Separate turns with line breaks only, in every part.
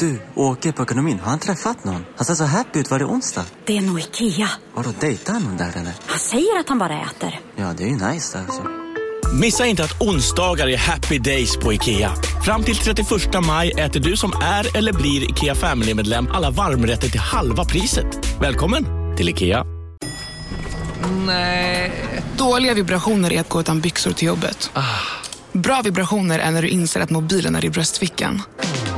Du, åker på ekonomin. Har han träffat någon? Han ser så happy ut. Var det onsdag?
Det är nog Ikea.
Har du dejtat någon där eller?
Han säger att han bara äter.
Ja, det är ju nice alltså.
Missa inte att onsdagar är happy days på IKEA. Fram till 31 maj äter du som är eller blir IKEA Family-medlem alla varmrätter till halva priset. Välkommen till IKEA.
Nej. Dåliga vibrationer är att gå utan byxor till jobbet. Bra vibrationer är när du inser att mobilen är i bröstfickan.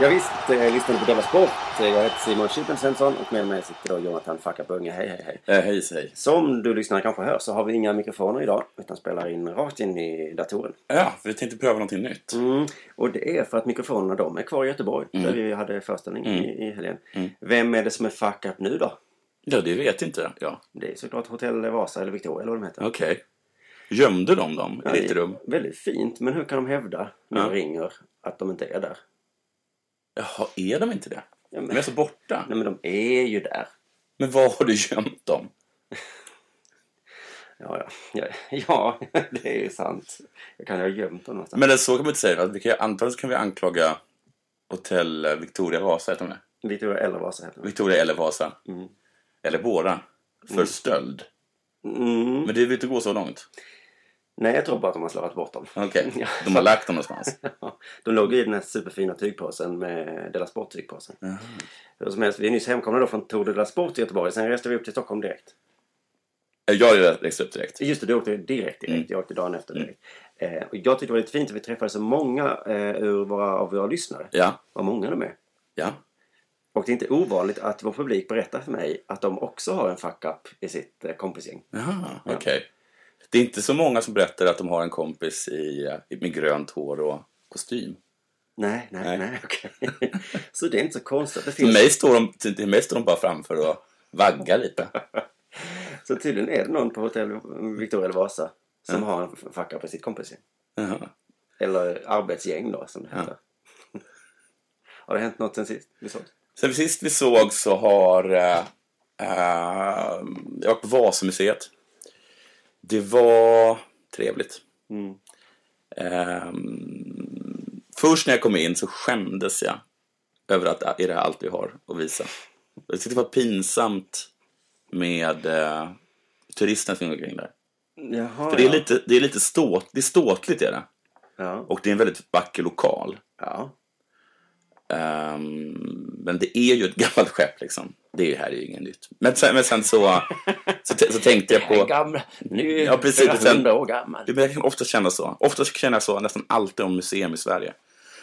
Jag visst, eh, lyssnade på Della Sport. Eh, Jag heter Simon Chippen Svensson och med mig sitter då Jonathan Facka Bunge. Hej, hej, hej.
Eh, hej, hej.
Som du lyssnare kanske hör så har vi inga mikrofoner idag utan spelar in rakt in i datorn.
Ja, vi tänkte pröva någonting nytt.
Mm. Och det är för att mikrofonerna de är kvar i Göteborg där vi hade föreställning i, i helgen. Vem är det som är fuck up nu då?
Ja, det vet inte jag. Ja.
Det är såklart Hotell Vasa eller Victoria eller vad de heter.
Okej. Gömde de dem i ditt rum?
Väldigt fint, men hur kan de hävda när
Ja.
de ringer att de inte är där?
Jaha, är de inte det?
Ja, men-
De är så borta.
Nej, men de är ju där.
Men var har du gömt dem?
Ja, ja. ja, ja det är ju sant. Jag kan ju ha gömt dem någonstans.
Men det så kan man inte säga. Att vi kan, antagligen så kan vi anklaga Hotell Victoria Vasa, heter de det?
Victoria eller Vasa heter de.
Victoria eller Vasa.
Mm.
Eller båda. För stöld.
Mm.
Men det vill inte gå så långt.
Nej, jag tror bara att de har slarvat bort dem.
Okej,
Ja.
de har lagt dem någonstans.
De låg i den här superfina tygpåsen med Della Sport-tygpåsen. Hur som helst, vi är nyss hemkomna då från Tour de la Sport i Göteborg. Sen reste vi upp till Stockholm direkt.
Eh, Jag läste upp direkt.
Just det, du åkte direkt direkt.
Mm.
Jag åkte dagen efter direkt. Eh, och jag tyckte det var lite fint att vi träffade så många eh, ur våra, av våra lyssnare.
Ja,
Vad många de är.
ja.
Och det är inte ovanligt att vår publik berättar för mig att de också har en fuck-up i sitt eh, kompisgäng.
Jaha, okej. Det är inte så många som berättar att de har en kompis i, eh, med grönt hår och kostym.
Nej, nej, nej,
Nej.
okej. så det är inte så konstigt. att Det
Till
finns...
mig, står de, till till mig står de bara framför och vaggar lite.
Så tydligen är det någon på hotell Victoria eller Vasa som har en fuck-up på sitt kompisgäng.
Jaha.
Eller arbetsgäng då, som det
Ja.
heter. har det hänt något sen sist vi såg?
Sen sist vi såg så har... eh, eh, jag var på Vasamuseet. Det var trevligt.
Mm.
Ehm, först när jag kom in så skämdes jag över att är det här allt vi har att visa. Jag tyckte det var pinsamt med eh, turisterna som gick omkring där.
Jaha,
För det är
ja.
lite, det är lite ståt, det är ståtligt är det.
Ja.
Och det är en väldigt vacker lokal.
ja.
Ehm, men det är ju ett gammalt skepp liksom. Det är ju här är ju inget nytt. Men sen, men sen så, så, t- så tänkte jag på...
gamla. Nu
Ja, precis.
är
Och sen-
jag hundra år gammal.
Ja, men Jag kan ofta känna så. Ofta känner jag så nästan alltid om museum i Sverige.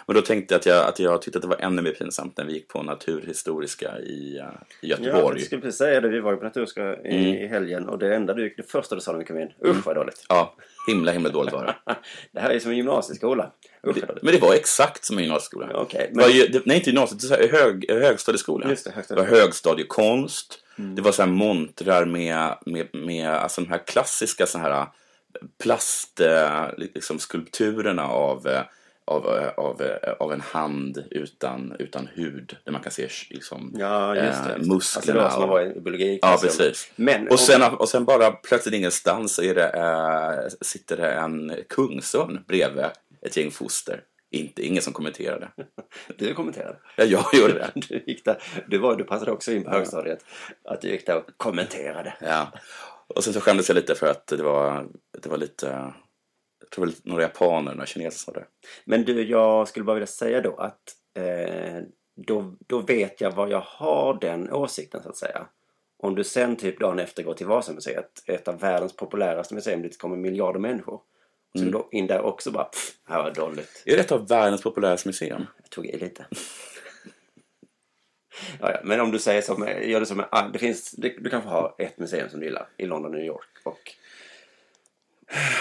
Men då tänkte jag att jag, att jag tyckte att det var ännu mer pinsamt när vi gick på Naturhistoriska i, eh, i
Ja,
Göteborg. Mm.
jag
Ja,
skulle precis säga det. Vi var ju på Naturska i, i helgen och det enda du gick, det första du sa när vi kom in,
Mm.
usch vad dåligt.
himla himla dåligt var det.
Det här är som en gymnasieskola. Usch vad dåligt.
Men det var exakt som en gymnasieskola.
Ja, okej,
det var
men-
ju, det, nej, inte gymnasiet, det var hög, högstadieskola.
Just det, Mm.
det
högstadiet.
var högstadiekonst. Det var så här montrar med, med, med alltså de här klassiska så här plast, eh, liksom skulpturerna av, eh, av, eh, av, eh, av en hand utan, utan hud. Där man kan se liksom,
Ja, just det.
eh,
Alltså det
musklerna.
var som att
och-
vara i biologi.
Ja, precis.
Men,
och, sen, och sen bara plötsligt ingenstans så är det, eh, sitter det en kungsörn bredvid ett gäng foster. Inte, ingen som kommenterade.
Du kommenterade.
Ja, jag gjorde det.
Du, gick där, du, var, du passade också in på högstadiet. Att du gick där och kommenterade.
Ja. Och sen så skämdes jag lite för att det var, det var lite... Jag tror det var några japaner, några kineser som var där.
Men du, jag skulle bara vilja säga då att eh, då, då vet jag vad jag har den åsikten så att säga. Om du sen typ dagen efter går till Vasamuseet, ett av världens populäraste museum dit kommer miljarder människor. Så
Mm.
vi då in där också bara, pff, här var dåligt.
Är det ett av världens populäraste museum?
Jag tog i lite. ja, ja. Men om du säger som, gör det som, ah, det finns, det, du kanske har ett museum som du gillar i London och New York. Och,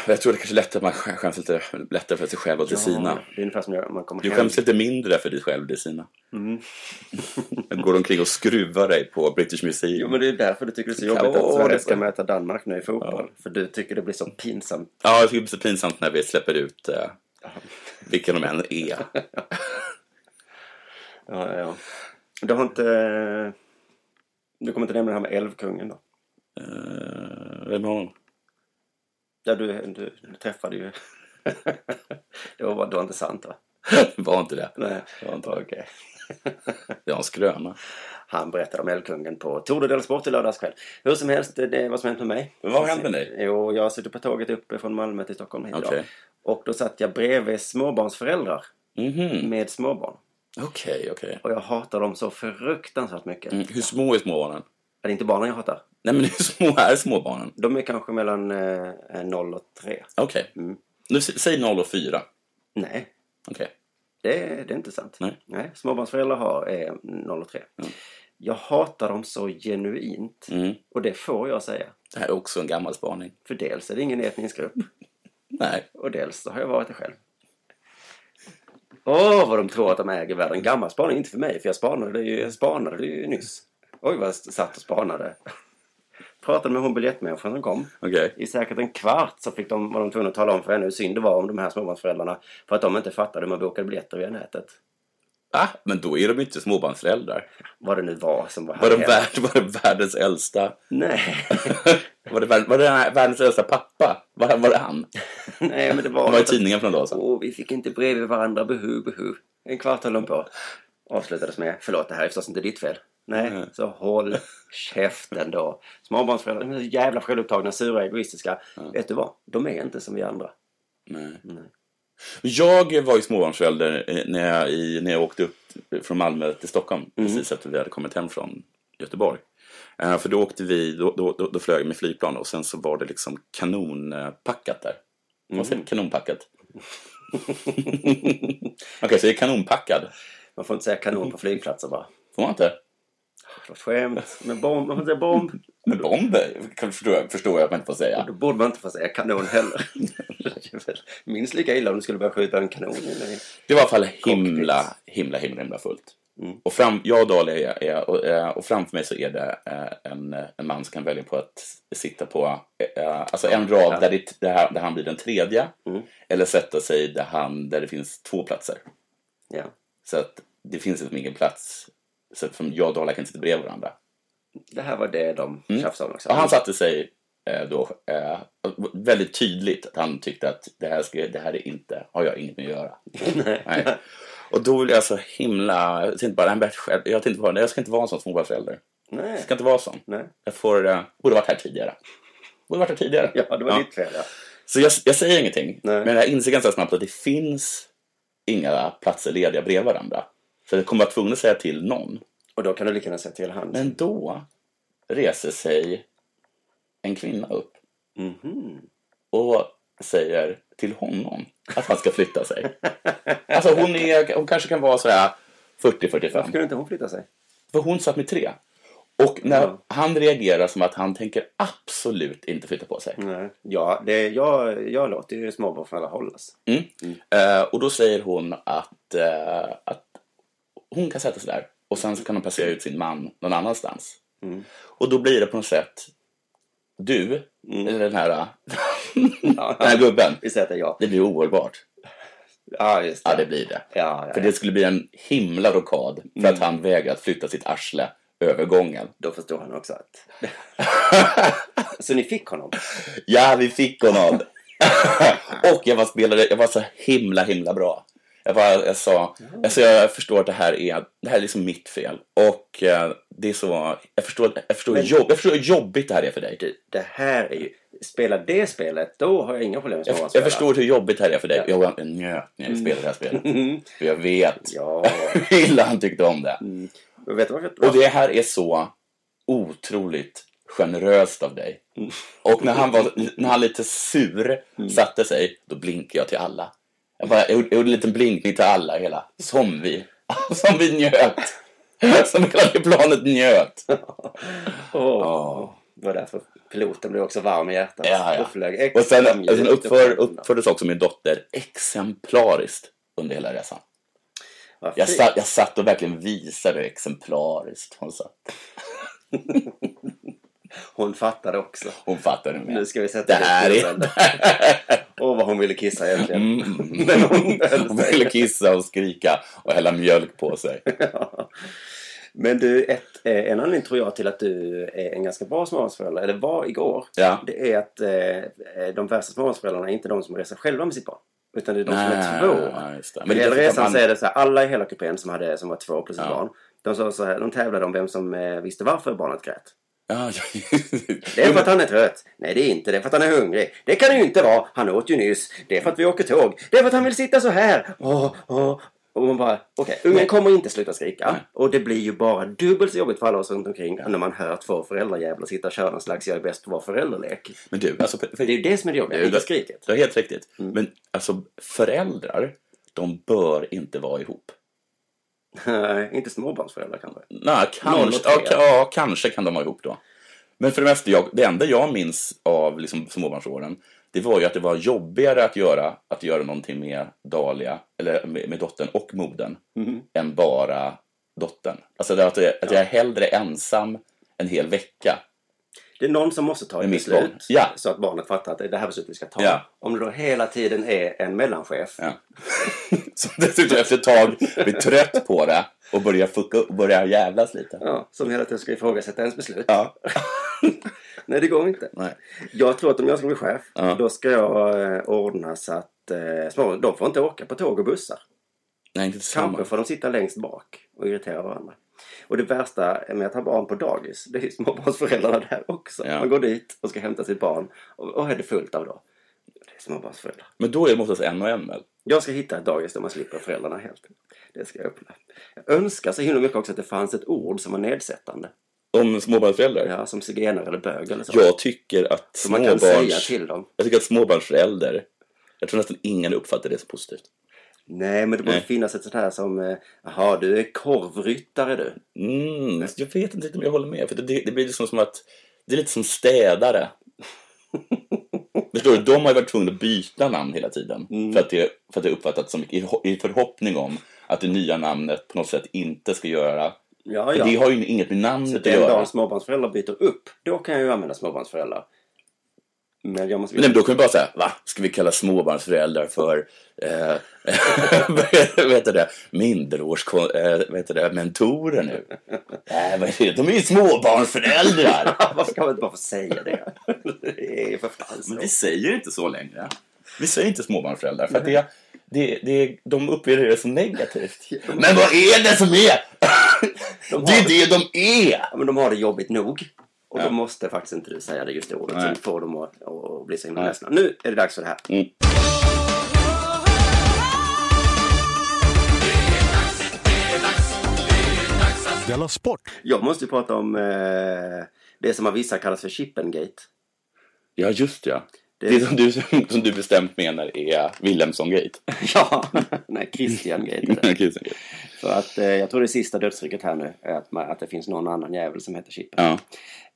Jag tror det kanske är lättare att man skä- skäms lite lättare för sig själv och till sina.
Det är ungefär som när man kommer
Du
hem.
skäms lite mindre för dig själv och till sina. Mm. Går omkring och skruvar dig på British Museum.
Jo, men det är därför du tycker det är så
Ja,
jobbigt att
åh,
Sverige
det-
ska möta Danmark nu i fotboll. För du tycker det blir så pinsamt.
Ja, jag tycker det blir så pinsamt när vi släpper ut eh, vilka de än är. Eh,
Ja, ja, ja. Du har inte... eh, Du kommer inte nämna det här med Älvkungen då?
Uh, vem är honom?
Ja, du, du, du träffade ju... det, var, det var inte sant va?
Var inte det?
Nej.
Det var inte okay.
Okej.
Det var en skröna.
Han berättade om Älvkungen på Tour de Del Sport i lördags kväll. Hur som helst, det är vad som hänt med mig.
Men vad har hänt med dig?
Jo, jag sitter på tåget uppe från Malmö till Stockholm hit idag.
Okej.
Och då satt jag bredvid småbarnsföräldrar
Mhm.
med småbarn.
Okej, okej.
Och jag hatar dem så fruktansvärt mycket.
Mm, Hur små är småbarnen?
Det är inte barnen jag hatar.
Nej, men hur små är småbarnen?
De är kanske mellan eh, 0 och 3.
Okej.
Mm.
Nu, s- säg 0 och 4.
Nej,
Okej.
det, är- det är inte sant.
Nej.
småbarnsföräldrar har eh, 0 och 3. Jag hatar dem så genuint.
Mm.
Och det får jag säga.
Det här är också en gammal spaning.
För dels är det ingen etnisk grupp
Nej.
och dels så har jag varit det själv. Åh, vad de tror att de äger världen. Gammal spaning, inte för mig, för jag spanade ju, jag spanade ju nyss. Oj, vad jag satt och spanade. Pratade med hon biljettmänniskan som kom.
Okej.
I säkert en kvart så fick de, var de tvungna att tala om för henne hur synd det var om de här småbarnsföräldrarna för att de inte fattade hur man bokade biljetter via nätet.
Ah, men då är de ju inte småbarnsföräldrar.
Vad det nu var som var här
Var det,
hemma.
värld, var det världens äldsta...
Nej.
Var det, värld, var det här världens äldsta pappa? Var, var det han?
Nej, men det var...
Han var i tidningen för någon dag sedan.
Åh, vi fick inte bredvid varandra, behu, behu. En kvart höll de på. Avslutades med, förlåt det här är förstås inte ditt fel. Nej, så håll käften då. Småbarnsföräldrar, de är så jävla självupptagna, sura, egoistiska. Vet du vad? De är inte som vi andra.
Jag var ju småbarnsförälder eh, när jag, i, när jag åkte upp från Malmö till Stockholm. Precis efter vi hade kommit hem från Göteborg. Eh, för då åkte vi, då, då, då, då flög jag med flygplan och sen så var det liksom kanonpackat där. Vad säger man? kanonpackat? Okej, så jag är kanonpackad.
Man får inte säga kanon på flygplatser bara.
Får man inte?
Förlåt, skämt. Men bomb, man får inte säga bomb.
Men bomber kan- förstår jag, förstår jag att man inte får säga.
Då borde man inte få säga kanon heller. Det är väl Minst lika illa om du skulle börja skjuta en kanon. in i-
Det var i alla fall himla, himla, himla, himla fullt. Och fram, jag och Dahlia är, är, och, eh, och framför mig så är det eh, en, en man som kan välja på att sitta på eh, eh, alltså en rad där, det, där, han- där han blir den tredje eller sätta sig där, han, där det finns två platser.
Ja.
Så att det finns liksom ingen plats så att som jag och Dahlia kan sitta bredvid varandra.
Det här var det de tjafsade om också.
Och Mm. han satte sig eh, då eh, väldigt tydligt att han tyckte att det här, ska, det här är inte, har jag inget med att göra. Nej. Och då vill jag så himla, jag tänkte bara, nej, men själv- jag, tänkte bara, nej, jag ska inte vara en sån småbarnsförälder. Jag
Nej.
ska inte vara sån.
Nej.
Jag får, eh, borde varit här tidigare. Borde varit här tidigare.
Ja, det var ditt fel. Ja.
Så jag, jag säger ingenting.
Nej.
Men jag inser ganska snabbt att det finns inga platser lediga bredvid varandra. Så jag kommer vara tvungen att säga till någon.
Och då kan du lika gärna säga till han.
Men då reser sig en kvinna upp
Mhm.
och säger till honom att han ska flytta sig. Alltså hon, är, hon kanske kan vara sådär
Varför
40-45,
kunde inte hon flytta sig?
för hon satt med tre. Och när
Ja.
han reagerar som att han tänker absolut inte flytta på sig.
Nej. Ja, det, jag, jag låter ju småbarn från alla håll. Alltså.
Mm. Eh, och då säger hon att, eh, att hon kan sätta sig där och sen så kan hon placera ut sin man någon annanstans.
Mm.
Och då blir det på något sätt du,
Mm.
eller den här, den här gubben.
Vi säger att det är jag.
Det blir ohållbart.
Ja, just det.
Ja, det blir det.
Ja, ja,
För
ja. Mm.
det skulle bli en himla rockad för att han vägrar att flytta sitt arsle över gången.
Då förstår han också att... Så ni fick honom?
Ja, vi fick honom! och jag var, spelade, jag var så himla, himla bra. Jag, var, jag sa, alltså jag förstår att det här är, det här är liksom mitt fel. Och eh, det är så, jag förstår, jag förstår, hur jobb, jag förstår hur jobbigt det här är för dig.
Du, det här är ju... Spelar det spelet, då har jag inga problem med
Jag,
småbarnsföräldrar.
jag förstår hur jobbigt det här är för dig. Jag var en njöt när jag spelade det här spelet. För jag vet
Mm. Ja.
hur illa han tyckte om det.
Och Vet du varför?
Och det här är så otroligt generöst av dig. Och när han var när han lite sur
Mm.
satte sig, då blinkade jag till alla. Jag, bara, jag, gjorde, jag gjorde en liten blinkning till alla hela, som vi, som vi njöt. Som hela det planet njöt.
Åh. Det var därför piloten blev också varm i hjärtat.
Ja, ja.
Och flög
Och sen,
extra
sen
mjukt
uppför,
upp-
uppfördes också min dotter exemplariskt under hela resan.
Vad
Jag,
fint.
sa, jag satt och verkligen visade hur exemplariskt hon satt.
Hon fattade också.
Hon fattade mig.
Nu ska vi sätta
det
dit
här
piloten.
är...
Åh, vad hon ville kissa egentligen.
Mm. Hon ville kissa och skrika och hälla mjölk på sig.
Ja. Men du, ett, eh, en anledning tror jag till att du är en ganska bra småbarnsförälder, eller var igår,
Ja.
det är att eh, de värsta småbarnsföräldrarna är inte de som reser själva med sitt barn. Utan det är de som är
Nej,
två.
ja, just det. Men
Men
det är
hela
därför att
resan
man-
så är det så här, alla i hela kupén som, hade, som var två plus ett
Ja.
barn, de, sa så här, de tävlade om vem som eh, visste varför barnet grät.
Ja, ja.
Det är för att han är trött. Nej, det är inte. Det är för att han är hungrig. Det kan det ju inte vara. Han åt ju nyss. Det är för att vi åker tåg. Det är för att han vill sitta så här. Åh, åh. Och man bara, okej, ungen kommer inte sluta skrika. Och det blir ju bara dubbelt så jobbigt för alla oss runt omkring när man hör två föräldrajävlar sitta och köra någon slags jag är bäst på att vara föräldralek.
Men du, alltså... för- för-
Det är ju det som är det jobbiga,
Du,
inte
du-
skriket.
Du har helt riktigt. Men alltså, föräldrar, de bör inte vara ihop.
Nej, inte småbarnsföräldrar kanske.
Nej,
Noll
kanske,
och tre.
ja, ka- ja, kanske kan de vara ihop då. Men för det mesta, jag, det enda jag minns av liksom, småbarnsåren, det var ju att det var jobbigare att göra, att göra någonting med Dahlia, eller med, med dottern och modern, än bara dottern. Alltså det, att, jag, att jag är hellre ensam en hel vecka.
Det är någon som måste ta ett
Med mitt
beslut
barn. Ja.
så att barnet fattar att det är det här beslutet vi ska ta.
Ja.
Om det då hela tiden är en mellanchef
Ja. Så dessutom efter ett tag blir trött på det och börjar, fucka, och börjar jävlas lite.
ja, som hela tiden ska ifrågasätta ens beslut.
Ja.
Nej, det går inte.
Nej.
Jag tror att om jag ska bli chef,
Ja.
då ska jag eh, ordna så att eh, små, de får inte åka på tåg och bussar.
Nej, inte
Kanske
tillsammans.
får de sitta längst bak och irritera varandra. Och det värsta med att ha barn på dagis, det är ju småbarnsföräldrarna där också.
Ja.
Man går dit och ska hämta sitt barn och, och är det fullt av då. Det är småbarnsföräldrar.
Men då är det oftast en och en väl?
Jag ska hitta ett dagis där man slipper föräldrarna helt. Det ska jag öppna. Jag önskar så himla mycket också att det fanns ett ord som var nedsättande.
Om småbarnsföräldrar?
Ja, som zigenare eller bög eller så.
Jag tycker att
Som man kan säga
småbarns...
till dem.
Jag tycker att småbarnsförälder, jag tror nästan ingen uppfattar det som positivt.
Nej, men det borde
Nej.
finnas ett sånt här som... eh, Jaha, du är korvryttare du.
Mm, alltså jag vet inte riktigt om jag håller med, för det, det blir liksom som att det är lite som städare. Förstår du? De har ju varit tvungna att byta namn hela tiden
Mm.
för att det, för att det uppfattats som i, i förhoppning om att det nya namnet på något sätt inte ska göra...
Ja,
för
ja.
Det har ju inget med namnet
Så
att
den
göra.
dagen småbarnsföräldrar byter upp, då kan jag ju använda småbarnsföräldrar. Men jag måste...
Nej, men då kan vi bara säga, va? Ska vi kalla småbarnsföräldrar för, eh, vad heter det, minderårs, eh, vad heter det, mentorer nu? Nej, vad är det? De är ju småbarnsföräldrar!
Varför kan man inte bara få säga det? det är ju för fan så.
Men vi säger inte så längre. Vi säger inte småbarnsföräldrar, för att det, det, det, de upplever det som negativt. Men vad är det som är? Det är det de är!
Ja, men de har det jobbigt nog. Och
Ja.
då måste faktiskt inte du säga det just det ordet.
Nej.
Så får dem att, att bli så himla
Nej.
ledsna. Nu är det dags för det här.
Mm.
Della Sport!
Jag måste ju prata om eh, det som av vissa kallas för Chippengate.
Ja, just ja.
Det-
Det, som, du, som du bestämt menar är Wilhelmsson-gate.
ja, nej, Christian-gate. är det.
Kissinger.
För att eh, jag tror det sista dödsrycket här nu är att, man, att det finns någon annan jävel som heter Chippen.
ja.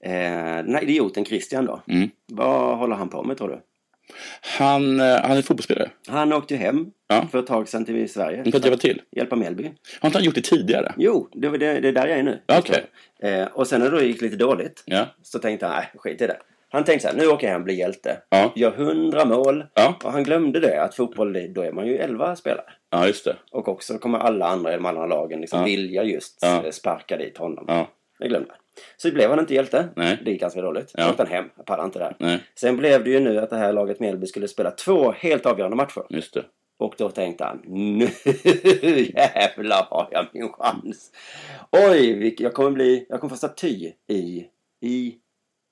Eh, den här idioten Christian då.
Mm.
Vad håller han på med tror du?
Han, eh, han är fotbollsspelare.
Han åkte ju hem
Ja.
för ett tag sedan till Sverige.
Han kan hjälpa till.
Hjälpa Mellby.
Har inte han gjort det tidigare?
Jo, det, var det, det är där jag är nu.
Okej.
Eh, och sen när det då gick lite dåligt
Ja.
så tänkte han, nej skit i det. Han tänkte så här, nu åker jag hem och blir hjälte.
Ja.
Gör hundra mål.
Ja.
Och han glömde det, att fotboll, då är man ju elva spelare.
Ja, just det.
Och också kommer alla andra i de andra lagen liksom
Ja.
vilja just
Ja.
eh, sparka dit honom.
Ja.
Jag glömde. Så blev han inte hjälte.
Nej.
Det gick ganska dåligt.
Ja.
Så åkte han hem. Jag pallar inte där.
Nej.
Sen blev det ju nu att det här laget Mjällby skulle spela två helt avgörande matcher.
Just det.
Och då tänkte han, nu jävlar har jag min chans. Oj, vilk- jag kommer bli, jag kommer få staty i, i,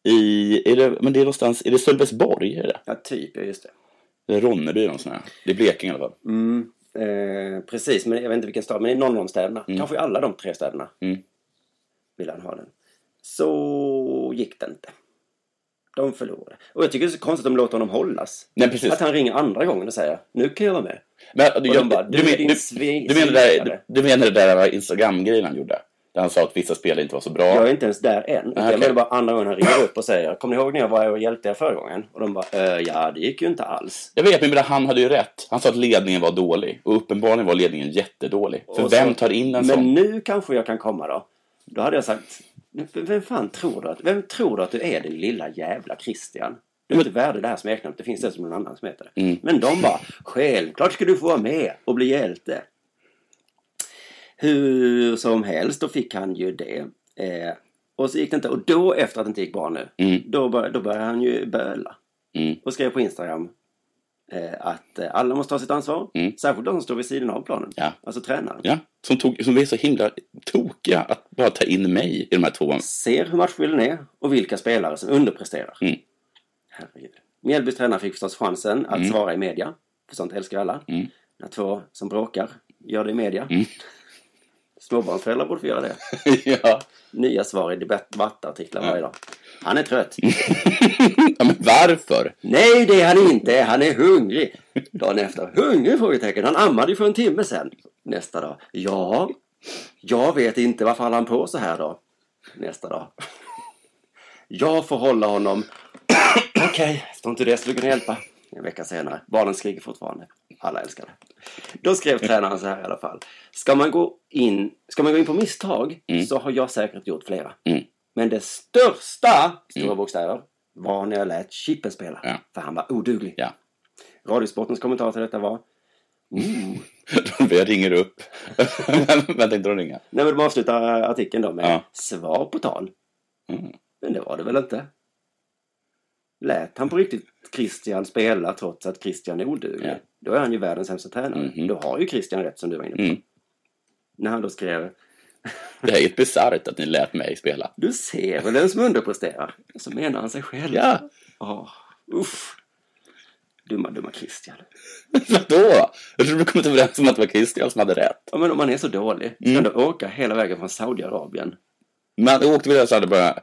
I, är det, men det är någonstans, är det Sölvesborg? Är det?
ja typ, ja just det.
Eller Ronneby någonstans? Här. Det är Blekinge i alla fall.
Mm, eh, precis, men jag vet inte vilken stad, men i någon av de städerna. Kanske i alla de tre städerna
Mm.
vill han ha den. så gick det inte. De förlorade. Och jag tycker det är så konstigt att de låter honom hållas.
Nej, precis.
Att han ringer andra gången och säger nu kan jag vara med.
Men, jag,
de bara,
du,
du
men-
är din
du,
sve-
du, menar det där, du,
svikare.
du menar det där Instagram-grejen han gjorde? Där han sa att vissa spelare inte var så bra.
Jag är inte ens där än.
okej.
Jag menar bara andra gången han ringer upp och säger kommer ni ihåg när jag var och hjälpte er förra gången? Och de bara "Eh, ja det gick ju inte alls.
Jag vet, men jag menar, han hade ju rätt. Han sa att ledningen var dålig. Och uppenbarligen var ledningen jättedålig. För
Och så-
vem tar in en
Men
sån?
nu kanske jag kan komma då. Då hade jag sagt "V- vem fan tror du att, vem tror du att du är din lilla jävla Christian? Du är inte värdig det här smeknamnet. Det finns det som någon annan som heter
Mm.
det. Men de bara självklart ska du få vara med och bli hjälte. Hur som helst, då fick han ju det. Eh, och så gick det inte. Och då, efter att det inte gick bra nu, då, bör, då började han ju böla.
Mm.
Och skrev på Instagram eh, att eh, alla måste ta sitt ansvar. Särskilt de som står vid sidan av planen.
Mm. Ja.
Alltså tränaren.
Ja, som, tog, som är så himla tokiga att bara ta in mig i de här två.
Ser hur matchbilden är och vilka spelare som underpresterar.
Mm.
Herregud. Mjällbys tränare fick förstås chansen att svara i media. För sånt älskar alla. När två som bråkar gör det i media. Småbarnsföräldrar borde få göra det.
ja.
Nya svar i debattartiklar varje dag. Han är trött.
ja, men varför?
Nej, det är han inte. Han är hungrig. Dagen efter. Hungrig? Frågetecken. Han ammade ju för en timme sedan. Nästa dag. Ja, jag vet inte. Varför höll han på så här då? Nästa dag. Jag får hålla honom. Okej, står inte det så du kan hjälpa. En vecka senare. Barnen skriker fortfarande. Alla älskar det. Då skrev tränaren så här i alla fall. Ska man gå in, ska man gå in på misstag så har jag säkert gjort flera.
Mm.
Men det största, stora bokstäver, var när jag lät Chippen spela.
Ja.
För han var oduglig.
Ja.
Radiosportens kommentar till detta var...
Jag ringer upp. Vem tänkte de ringa?
Nej, men de avslutar artikeln då med
Ja. Mm.
svar på tal. Men det var det väl inte? Lät han på riktigt Christian spela trots att Christian är oduglig?
Ja. Mhm.
Då är han ju världens sämsta tränare. Då har ju Christian rätt som du var inne på.
Mm.
När han då skrev
Det här är helt bisarrt att ni lät mig spela.
Du ser väl den som underpresterar? Så menar han sig själv.
Ja,
Åh, uff. Dumma, dumma Christian.
vadå? Jag trodde vi kommit överens om att det var Christian som hade rätt.
Ja, men om man är så dålig, ska mm. du åka hela vägen från Saudiarabien?
Men jag åkte vi där så hade jag bara...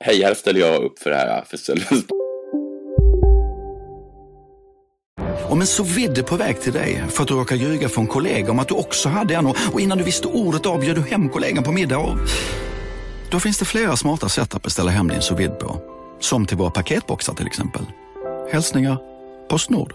Hej, här ställer jag upp för det här. För Sölvens
Om en så vidde på väg till dig för att du råkar ljuga från kollega om att du också hade en och och innan du visste ordet av bjöd du hem kollegan på middag och... Då finns det flera smarta sätt att beställa hem din sous vide på. Som till våra paketboxar till exempel. Hälsningar Postnord.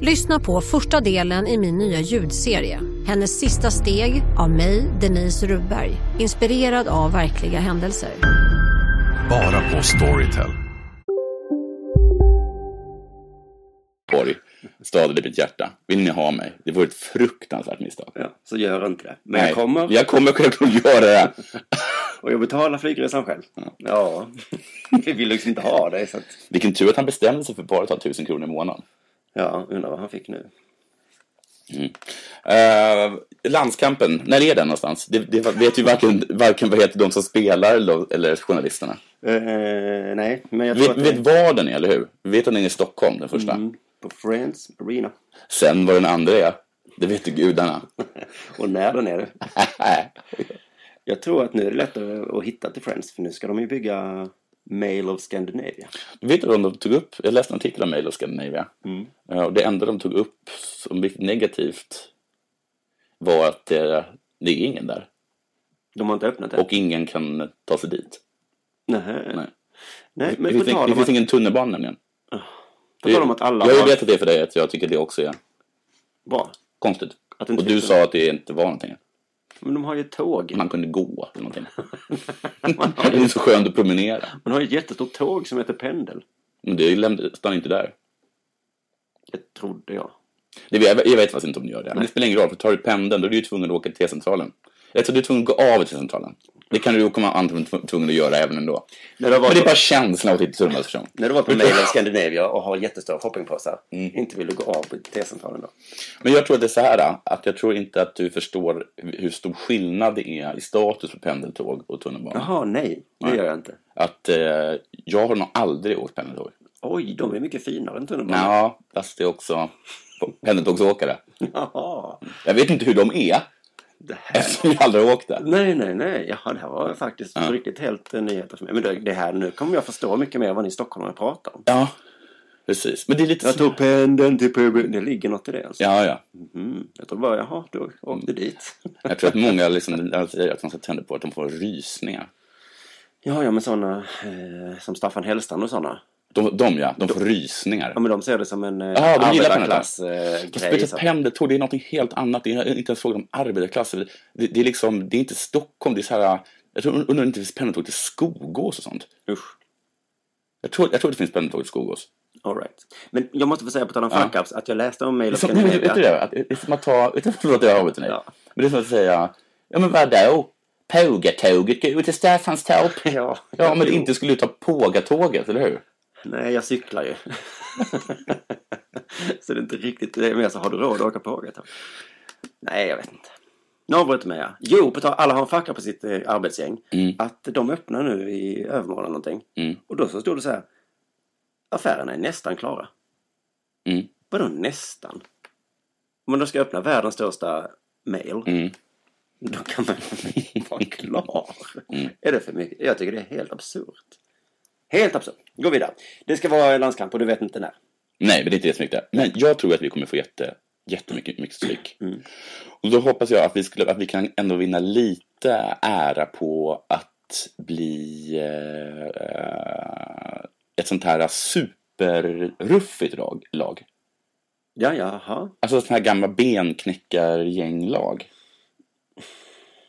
Lyssna på första delen i min nya ljudserie. Hennes sista steg av mig, Denise Rubberg. Inspirerad av verkliga händelser.
Bara på Storytel.
Borg, staden i mitt hjärta. Vill ni ha mig? Det vore ett fruktansvärt misstag.
Ja, så gör inte det. Men
Nej,
jag kommer
Jag kommer självklart göra det.
och jag betalar flygresan själv. Ja, vi vill liksom inte ha det. Så att,
Vilken tur att han bestämde sig för bara att ta 1000 kronor i månaden.
ja, undrar vad han fick nu.
Eh, landskampen, när är den någonstans? Det, det vet ju varken, varken vad heter de som spelar eller, de- eller journalisterna.
Eh, nej, men jag tror
Vet,
att det Mm.
vet
är
var den är, eller hur? Vi vet att den är i Stockholm, den första.
på Friends Arena.
Sen var den andra är, det vet ju gudarna.
Och när den är det. Jag tror att nu är det lättare att hitta till Friends, för nu ska de ju bygga Mail of Scandinavia.
Vet du vad de tog upp? Jag läste en artikel om Mail of Scandinavia.
Mm.
Eh, Och det enda de tog upp som blev negativt var att eh, det är ingen där.
De har inte öppnat det.
Och ingen kan ta sig dit.
Nähä.
Nej.
Nej. nej, men
det
på
finns, ing-
tal
det
om
finns
att- Ah.
ingen tunnelbana nämligen.
på tal om att alla
jag
har...
vet att det är för dig, att jag tycker det också är
Bra.
konstigt.
Att det inte
och du
finns
sa att det inte var någonting.
Men de har ju ett tåg.
Man kunde gå eller någonting. det är så skönt att promenera.
Man har ju ett jättestort tåg som heter Pendel.
Men det lämn- stannar inte där.
Det trodde jag.
Det, jag, jag vet faktiskt inte om du gör det. Men det spelar ingen roll, för tar du pendeln då är du ju tvungen att åka till T-centralen. Jag tror du är tvungen att gå av till centralen. Det kan du komma antagligen tv- tvungen att göra även ändå. Men det är bara känslan av att inte turmas person.
När du var på Mail of Scandinavia och har jättestora shoppingpåsar. Inte vill du gå av på T-centralen då?
Men jag tror att det är så här, att jag tror inte att du förstår hur stor skillnad det är i status på pendeltåg och tunnelbana.
Jaha, nej. Det gör jag inte.
Att eh, jag har nog aldrig åkt pendeltåg.
Oj, de är mycket finare än tunnelbanan.
Ja, fast det är också pendeltågsåkare.
Jaha.
Jag vet inte hur de är. Eftersom jag aldrig har åkt där.
Nej, nej, nej. Jaha, det här var faktiskt riktigt helt eh, nyheter för mig. Men det, det här, nu kommer jag förstå mycket mer vad ni stockholmare pratar om.
Ja, precis. Men det är lite
Jag
så-
tog pendeln till puben. Det ligger något i det alltså.
Ja, ja.
Mhm. Jag tror bara, jaha, då åkte dit.
Jag tror att många liksom, när de säger att de ska tända på att de får rysningar.
Ja, ja, men sådana eh, som Staffan Hellstrand och sådana.
De, de ja, de får rysningar.
Ja, men de ser det som en eh,
Ja, de gillar
arbetarklass eh,
pendeltåg. Fast
grej.
vet
så
du,
att-
pendeltåg, det är något helt annat. Det är inte en fråga om arbetarklass. Det, det, är liksom, det är inte Stockholm, det är så här... Jag tror, undrar om det inte finns pendeltåg till Skogås och sånt.
Usch.
Jag tror, jag tror det finns pendeltåg till Skogås.
All right. Men jag måste få säga på tal om
Ja.
fuck-ups att jag läste om Mail of
Så, nej, men, vet du det? Att, det är som att ta, vet du, förlåt att jag avbryter dig. Men det är som att säga, ja men vadå? Pågatåget går ju till Staffanstorp.
Ja,
ja, men inte skulle du ta pågatåget, eller hur?
Nej, jag cyklar ju. så det är inte riktigt det. Men så har du råd att åka på åket? Nej, jag vet inte. Nu avbryter mig jag. Jo, på tal alla har en facka på sitt eh, arbetsgäng. Att de öppnar nu i övermorgon eller någonting.
Mm.
Och då så stod det så här. Affärerna är nästan klara.
Mm.
Vadå nästan? Om man då ska öppna världens största mail.
Mm.
Då kan man vara klar.
Mm.
Är det för mycket? Jag tycker det är helt absurt. Helt absurt. Gå vidare. Det ska vara landskamp och du vet inte när.
Nej, men det är inte det som är viktigt. Men jag tror att vi kommer få jätte, jättemycket mycket stryk. Och då hoppas jag att vi, skulle, att vi kan ändå vinna lite ära på att bli eh, ett sånt här superruffigt lag. lag.
Ja, jaha.
Alltså sånt här gamla benknäckargänglag.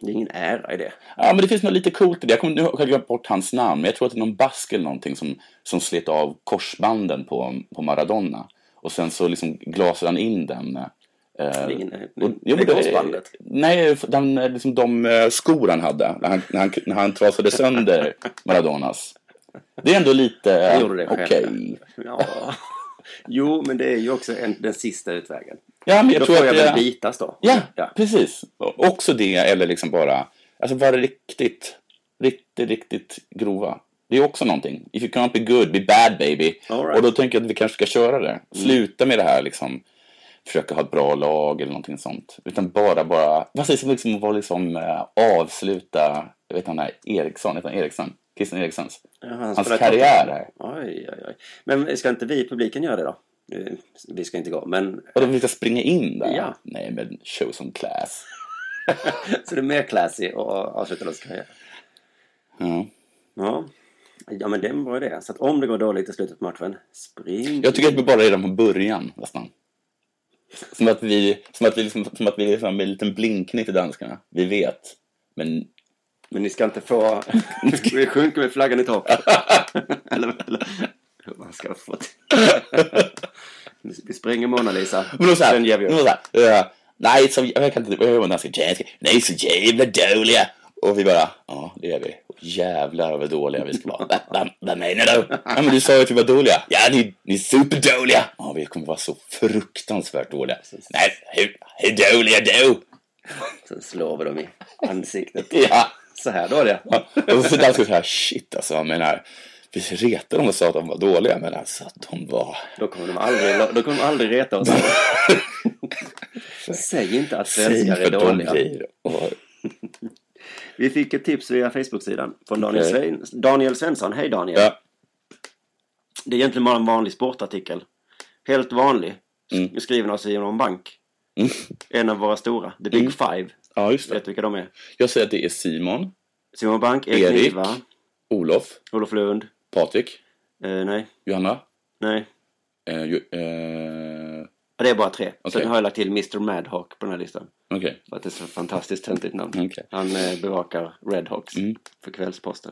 Det är ingen ära i det.
Ja, men det finns något lite coolt i det. Jag kommer nu har jag glömt bort hans namn, men jag tror att det är någon bask eller någonting som, som slet av korsbanden på, på Maradona. Och sen så liksom glasade han in den. Eh,
ingen-
och-
det är
men det-
korsbandet.
Nej, för den, eh, liksom de eh, skor han hade när han, när han, när han trasade sönder Maradonas. Det är ändå lite...
Jag
eh,
gjorde det själv.
Okej.
Ja. Jo, men det är ju också en, den sista utvägen.
Ja, men jag
då
tror
får jag
att
väl
jag-
bitas då.
Ja, precis. Och Också det, eller liksom bara... Alltså vara riktigt, riktigt, riktigt grova. Det är också någonting. If you can't be good, be bad baby.
All right. Mm.
Och då tänker jag att vi kanske ska köra det. Sluta med det här liksom försöka ha ett bra lag eller någonting sånt. Utan bara, bara... Vad sägs om liksom att vara liksom eh, avsluta... Jag vet han här Eriksson, heter han Eriksson? Christian Erikssons.
Ja, han
Hans
spelar
karriär
toppen.
här.
Oj, oj, oj. Men ska inte vi i publiken göra det då? Eh, Vi ska inte gå, men...
Och de ska springa in där?
Ja.
Nej, men show some class.
Så det är mer classy att avsluta deras karriär.
Ja.
Ja. ja, men det är en bra idé. Så att om det går dåligt i slutet på matchen, spring.
Jag tycker att vi bara redan från början nästan. Som att vi, som att vi, liksom, som att vi liksom med en liten blinkning till danskarna. Vi vet. Men
Men ni ska inte få... Vi sjunker med flaggan i topp. eller, eller... hur Man ska få... vi springer Mona Lisa.
men då så här,
Sen ger vi
då
upp.
så här, eh, nej, så, jag kan inte, jag hör vad danska jazz, nej så jävla dåliga. Och vi bara, ja det är vi. Och jävlar vad dåliga vi ska vara. Va, va, vad menar du? Ja men du sa ju att vi var dåliga. Ja ni, ni är superdåliga. Ja vi kommer vara så fruktansvärt dåliga. Nej, hur, hur dåliga då?
Sen slår vi dem i ansiktet.
Ja.
Så här dåliga.
Och så danskarna så här, shit alltså, jag menar, vi retade dem och sa att de var dåliga, men alltså att de var...
Då kommer de aldrig, då kommer de aldrig reta oss. Säg inte att
Säg
svenskar
för
är
de
dåliga.
blir. Och,
Vi fick ett tips via Facebook-sidan från Daniel,
Okej.
Svein, Daniel Svensson. Hej Daniel!
Ja.
Det är egentligen bara en vanlig sportartikel. Helt vanlig. Mm. Skriven av Simon Bank. En av våra stora. The Big Five.
Mm. ja, just
Vet
det.
du vilka de är?
Jag säger att det är Simon,
Simon Bank, Erik,
Erik,
Niva,
Olof,
Olof Lund.
Patrik,
Eh, nej,
Johanna.
nej.
Eh, ju- eh,
Ja, Det är bara tre.
Okej.
Sen har jag lagt till Mr Madhawk på den här listan.
Okej.
För att det är så fantastiskt töntigt namn.
Okej.
Han eh, bevakar Redhawks för Kvällsposten.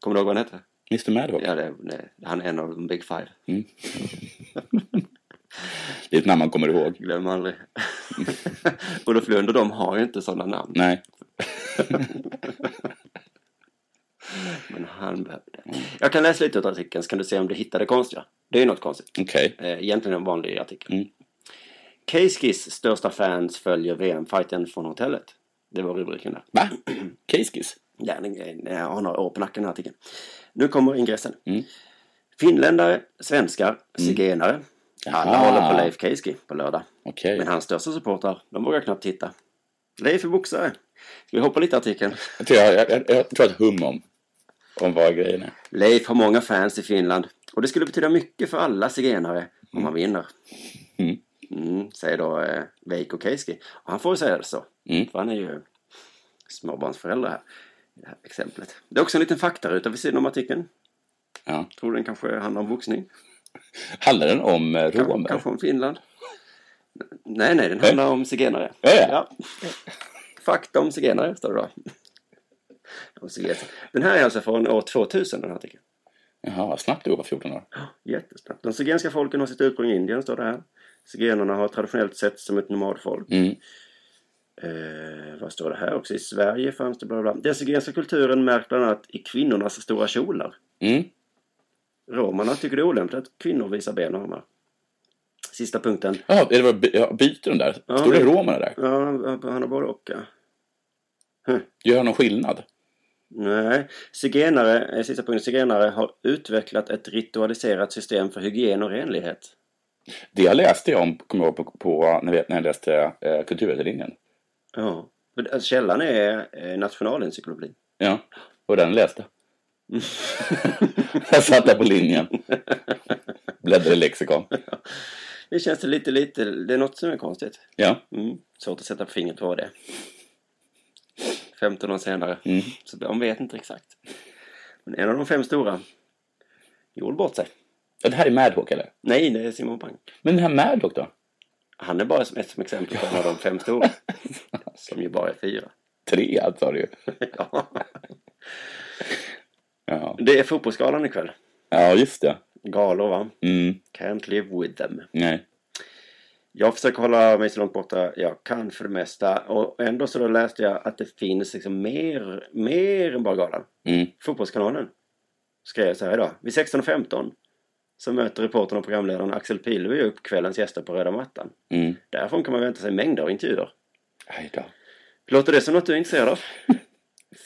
Kommer du ihåg vad han hette?
Mr Madhawk.
Ja, det, det, han är en av de Big Five.
Det är ett namn man kommer ihåg.
Glöm aldrig. Olof Lund och de har ju inte sådana namn.
Nej.
Men han behövde. Jag kan läsa lite ur artikeln så kan du se om du hittar det konstiga. Det är ju något konstigt.
Okej.
Eh, Egentligen en vanlig artikel.
Mm.
Keiskis största fans följer VM-fighten från hotellet. Det var rubriken där.
Va? Keiskis?
Ja, den- den- jag har några år på nacken den här artikeln. Nu kommer ingressen. Finländare, svenskar, zigenare. Alla
Aha.
håller på Leif Keiski på lördag.
Okej.
Men hans största supportrar, de vågar knappt titta. Leif är boxare. Ska vi hoppa lite i artikeln?
Jag tror, jag, jag, jag, jag tror att hum om, om vad grejen är.
Leif har många fans i Finland och det skulle betyda mycket för alla zigenare om han vinner.
Mm.
Mm, säger då eh, Veikko Keiski. Och han får ju säga det så. För han är ju småbarnsförälder här. I det här exemplet. Det är också en liten faktaruta vid sidan om artikeln.
Ja.
Tror den kanske handlar om boxning?
Handlar den om eh,
Kan-
romer?
Kanske om Finland? Nej, nej, den handlar om zigenare.
Ja, ja.
Fakta om zigenare, står det då. Om zigenare. Den här är alltså från år 2000, den här artikeln.
Jaha, vad snabbt du var 14 år.
Jättesnabbt. De zigenska folken har sitt ursprung i Indien, står det här. Zigenarna har traditionellt sett som ett nomadfolk.
Mm.
Eh, vad står det här också? I Sverige fanns det bla bla. bla. Den zigenska kulturen märks bland annat i kvinnornas stora kjolar.
Mm.
Romarna tycker det är olämpligt att kvinnor visar ben och armar. Sista punkten.
Jaha, det var by, ja, byter de där?
Ja,
Står det romerna där?
Ja, han- han har både och. ja.
Gör någon skillnad?
Nej. Zigenare, eh, sista punkten. Zigenare har utvecklat ett ritualiserat system för hygien och renlighet.
Det jag läste jag om, kommer jag ihåg, på, på, när, vi- när jag läste eh, kulturvetarlinjen.
Ja. Men, alltså, Källan är eh, Nationalencyklopedin.
Ja, och den läste. jag satt där på linjen. Bläddrade i lexikon.
Det känns det lite, lite... Det är något som är konstigt.
Ja.
Mm. Svårt att sätta fingret på vad det är. 15 år senare.
Mm.
Så de vet inte exakt. Men en av de fem stora gjorde bort sig.
ja. Det här är Madhawk eller?
Nej, det är Simon Pang.
Men den här Madhawk då?
Han är bara som ett som exempel på en av de fem stora. som ju bara är fyra.
Tre sa du ju.
ja.
Ja.
Det är fotbollsgalan ikväll.
ja, just det.
Galor, va?
Mm.
Can't live with them.
Nej.
Jag försöker hålla mig så långt borta jag kan för det mesta. Och ändå så då läste jag att det finns liksom mer, mer än bara galan.
Mm.
Fotbollskanalen skrev så här idag. Vid 16.15 så möter reportern och programledaren Axel Pilvi upp kvällens gäster på röda mattan.
Mm.
Därifrån kan man vänta sig mängder av intervjuer.
Aj då.
Låter det som något du är intresserad av?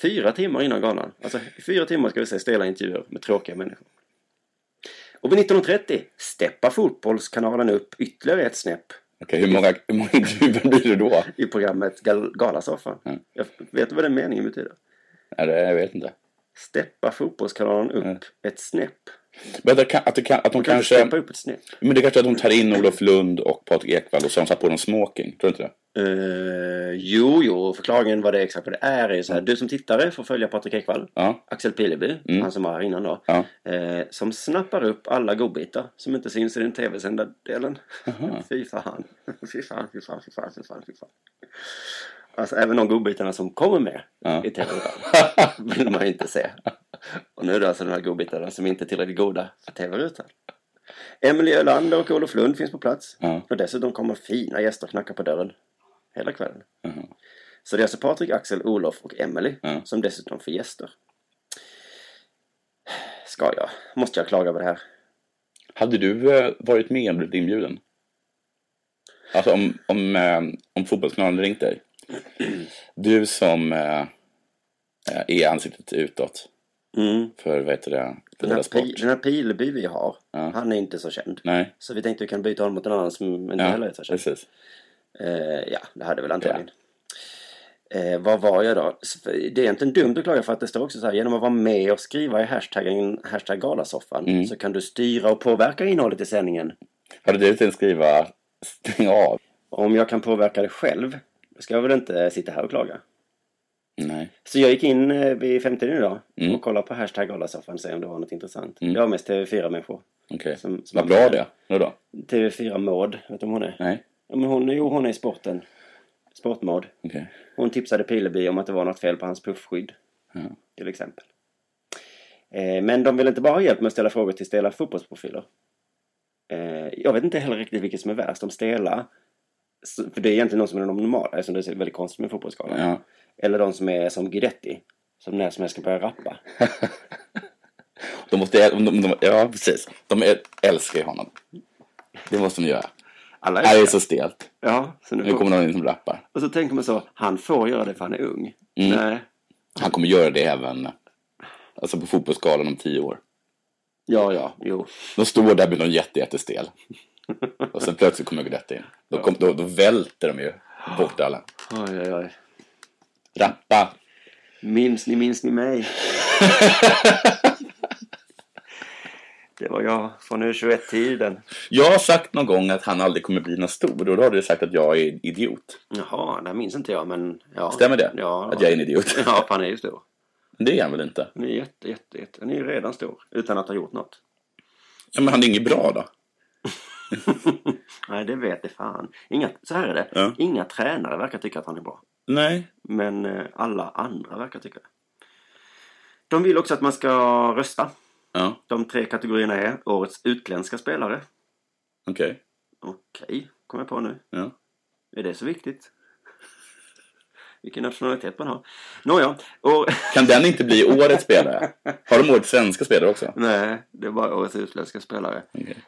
Fyra timmar innan galan. Alltså, i fyra timmar ska vi se stela intervjuer med tråkiga människor. Och vid 19.30 steppar Fotbollskanalen upp ytterligare ett snäpp
Okej, hur många, hur många intervjuer blir det då?
i programmet Gal- Galasoffan.
Mm.
Jag vet du vad den meningen betyder?
Nej, det- jag vet inte.
Steppa Fotbollskanalen upp ett snäpp.
Men det kan, att, det kan, att de
Man kan inte
Mm. kanske...
steppa upp ett snäpp.
Men det kanske är att de tar in Olof Lund och Patrik Ekwall och så har de satt på dem smoking. Tror du inte det?
Eh, jo, jo, och förklaringen vad det är exakt vad det är är ju så här. Du som tittare får följa Patrik Ekwall,
Ja.
Axel Pileby,
Mm.
han som var här innan då,
Ja.
eh, som snappar upp alla godbitar som inte syns i den tv-sända delen.
Aha.
Fy fan. Fy fan, fy fan, fy fan, fy fan, fy fan. Alltså även de godbitarna som kommer med
Ja.
i tv vill man ju inte se. Och nu är det alltså de här godbitarna som inte är tillräckligt goda för tv-rutan. Emelie Ölander och Olof Lund finns på plats.
Ja.
Och dessutom kommer fina gäster knacka på dörren hela kvällen.
Jaha.
Så det är alltså Patrik, Axel, Olof och Emelie
Mm-hmm. Ja.
som dessutom får gäster. Ska jag? Måste jag klaga på det här?
Hade du eh, varit med och blivit inbjuden? Alltså om, om, eh, om fotbollskanalen ringt dig. Du som eh, eh, är ansiktet utåt
Mm.
för, vad heter det, för
Den här,
deras sport.
pi, den här Pileby vi har,
Ja.
han är inte så känd.
Nej,
Så vi tänkte vi kan byta honom mot en annan som inte heller
ja,
är så känd.
precis.
Eh, ja, det hade väl antagligen. Eh, vad var jag då? S- Det är egentligen dumt att klaga för att det står också så här. Genom att vara med och skriva i hashtaggen hashtag galasoffan
Mm.
så kan du styra och påverka innehållet i sändningen.
Hade du tänkt skriva stäng av?
Om jag kan påverka det själv ska jag väl inte sitta här och klaga.
Nej.
Så jag gick in eh, vid femtiden idag
Mm.
och kollade på hashtag galasoffan och se om det var något intressant.
Mm.
Det var mest TV4-människor.
Okej.
Som- som-
Vad bra det Nu då?
TV4 Maud, vet du om hon är?
Nej.
Ja, men hon, jo, hon är i sporten. Sportmaud.
Okej.
Hon tipsade Pileby om att det var något fel på hans puffskydd.
Ja.
Till exempel. Eh, Men de vill inte bara ha hjälp med att ställa frågor till stela fotbollsprofiler. Eh, jag vet inte heller riktigt vilket som är värst, de stela. så- För det är egentligen de som är de normala eftersom det är väldigt konstigt med fotbollsskalan.
Ja.
Eller de som är som Guidetti. Som när som helst kan börja rappa.
De måste, de, de, de, ja, precis. De äl- älskar ju honom. Det måste de göra.
Alla
det är
älskar.
så stelt.
Ja, så nu
nu kommer någon in som rappar.
Och så tänker man så, han får göra det för han är ung.
Mm.
Nej.
Han kommer göra det även alltså på fotbollsskalan om tio år.
Ja, ja, jo.
De står där med någon jätte, jättestel. Och sen plötsligt kommer Guidetti in. Då, kom, då, då välter de ju bort alla.
Oj, oj, oj.
Rappa!
Minns ni, minns ni mig? det var jag från U21-tiden.
Jag har sagt någon gång att han aldrig kommer bli någon stor och då har du sagt att jag är idiot.
Jaha, det minns inte jag, men... Ja.
Stämmer det?
Ja.
Att jag är en idiot?
Ja, han är ju stor.
Men Det är han väl inte?
Han är jätte, jätte, jätte. Han är ju redan stor, utan att ha gjort något.
Ja, men han är inget bra då?
Nej, det vet det fan. Inga, så här är det.
Ja.
Inga tränare verkar tycka att han är bra.
Nej.
Men eh, alla andra verkar tycka det. De vill också att man ska rösta.
Ja,
De tre kategorierna är årets utländska spelare.
okej.
Okej, kom jag på nu.
Ja.
Är det så viktigt? Vilken nationalitet man har. Nåja, och...
Kan den inte bli årets spelare? Har de årets svenska spelare också?
Nej, det är bara årets utländska spelare.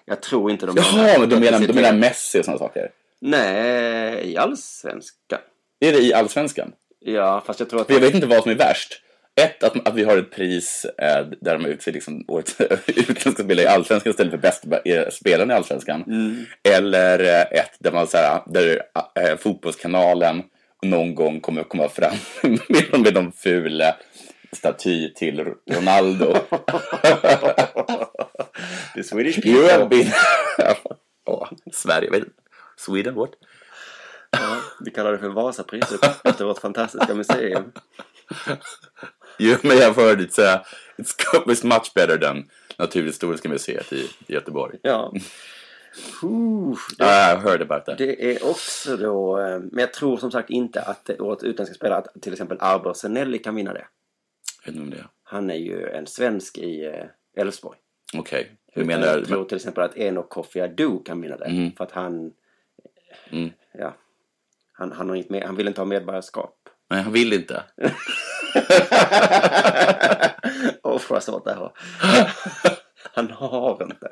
Jag tror inte de
Jaha, men de menar, de
publicitet.
menar Messi och sådana saker.
Nej, i allsvenskan.
Är det i allsvenskan?
Ja, fast jag tror att...
För jag vet inte vad som är värst. Ett, att, att vi har ett pris eh, där de utser liksom årets utländska spelare i allsvenskan istället för bästa eh, spelaren i allsvenskan. Eller eh, ett där, man, så här, där eh, fotbollskanalen någon gång kommer att komma fram med, med de fula staty till Ronaldo.
The Swedish
you have been... Åh, Sverige, vet Sweden, what?
Ja, vi kallar det för Vasapriset efter vårt fantastiska museum.
You may have heard it's, uh, it's, it's much better than Naturhistoriska museet i i Göteborg.
Ja. Puh,
I
det,
heard about that.
det är också då... eh, Men jag tror som sagt inte att det- årets utländska spelare, att till exempel Arbor Senelli kan vinna det.
Jag vet inte om det.
Han är ju en svensk i eh, Elfsborg.
Okej, du
Utan
menar...
jag tror till exempel att Enoch Kofi Adu kan vinna det.
Mm.
För att han,
Mm.
ja, han, han, har inte med, han vill inte ha medborgarskap.
Nej, han vill inte.
Åh, vad svårt det här var. Han har inte.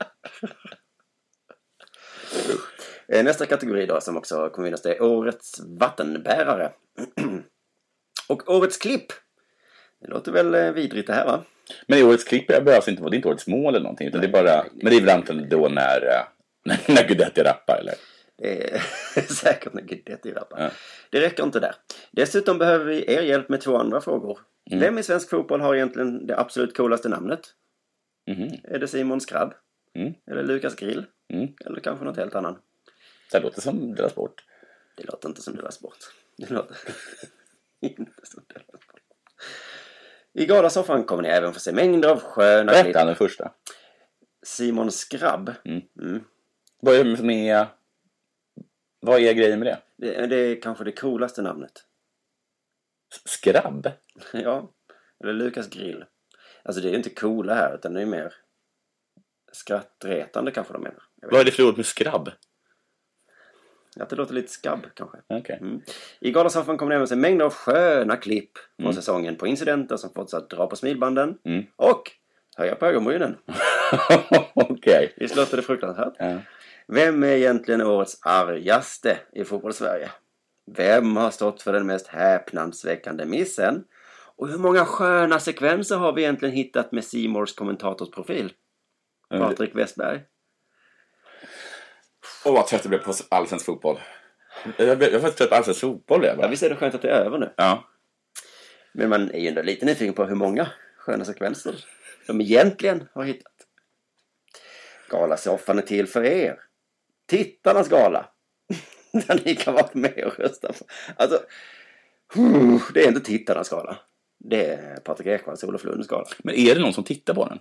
Eh, Nästa kategori då som också kommer vinnas det är Årets vattenbärare. Och Årets klipp. Det låter väl eh, vidrigt det här va?
Men i årets klipp behöver alltså inte vara ditt årets mål eller någonting. Utan det är bara... men det är väl antagligen då när, eh, när, när Guidetti rappar, eller?
Det är säkert något Guidetti rappar.
Ja.
Det räcker inte där. Dessutom behöver vi er hjälp med två andra frågor.
Mm.
Vem i svensk fotboll har egentligen det absolut coolaste namnet?
Mhm.
Är det Simon Skrabb?
Mm.
Eller Lukas Grill?
Mm.
Eller kanske något helt annat?
Det här låter som deras sport.
Det låter inte som deras sport. Det låter inte som deras sport. I Galasoffan kommer ni även få se mängder av sköna
Vad hette
klipp.
han den första?
Simon Skrabb.
Mm.
Mm.
Vad är, som är, vad är grejen med det?
Det, det är kanske det coolaste namnet.
Skrabb?
Ja, eller Lukas grill. Alltså det är ju inte coola här utan det är mer skrattretande kanske de menar. Jag vet
Vad är det för ord med skrabb?
inte. Att det låter lite skabb kanske.
Okej.
Mm. I Galasoffan kommer det även se mängder av sköna klipp från säsongen på incidenter som fått oss att dra på smilbanden
Mm.
och höja på ögonbrynen.
Okej.
Visst låter det fruktansvärt?
Ja.
Vem är egentligen årets argaste i fotbollssverige? Vem har stått för den mest häpnadsväckande missen? Och hur många sköna sekvenser har vi egentligen hittat med C Mores kommentatorsprofil? Eh,
Ja, det-
Patrik Westberg.
Åh, vad trött jag blev på allsvensk fotboll. Jag blev jag var trött på allsvensk fotboll. Jag
Ja,
bara.
visst är det skönt att det är över nu?
Ja.
Men man är ju ändå lite nyfiken på hur många sköna sekvenser de egentligen har hittat. Galasoffan är till för er. Tittarnas gala. Där ni kan vara med och rösta på. Alltså, huh, det är inte tittarnas gala. Det är Patrik Ekwalls och Olof Lunds gala.
Men är det någon som tittar på den?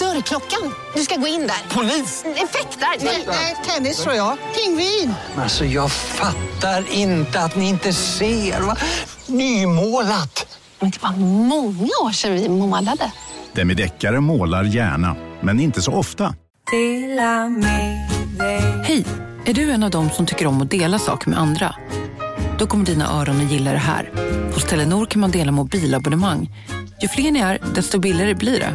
Dörrklockan. Du ska gå in där. Polis? Effektar? Nej, tennis tror jag. Pingvin.
Alltså jag fattar inte att ni inte ser. Va? Nymålat!
Men det var många år sedan vi målade.
Demideckare målar gärna, men inte så ofta.
Hej! Är du en av dem som tycker om att dela saker med andra? Då kommer dina öron att gilla det här. Hos Telenor kan man dela mobilabonnemang. Ju fler ni är, desto billigare blir det.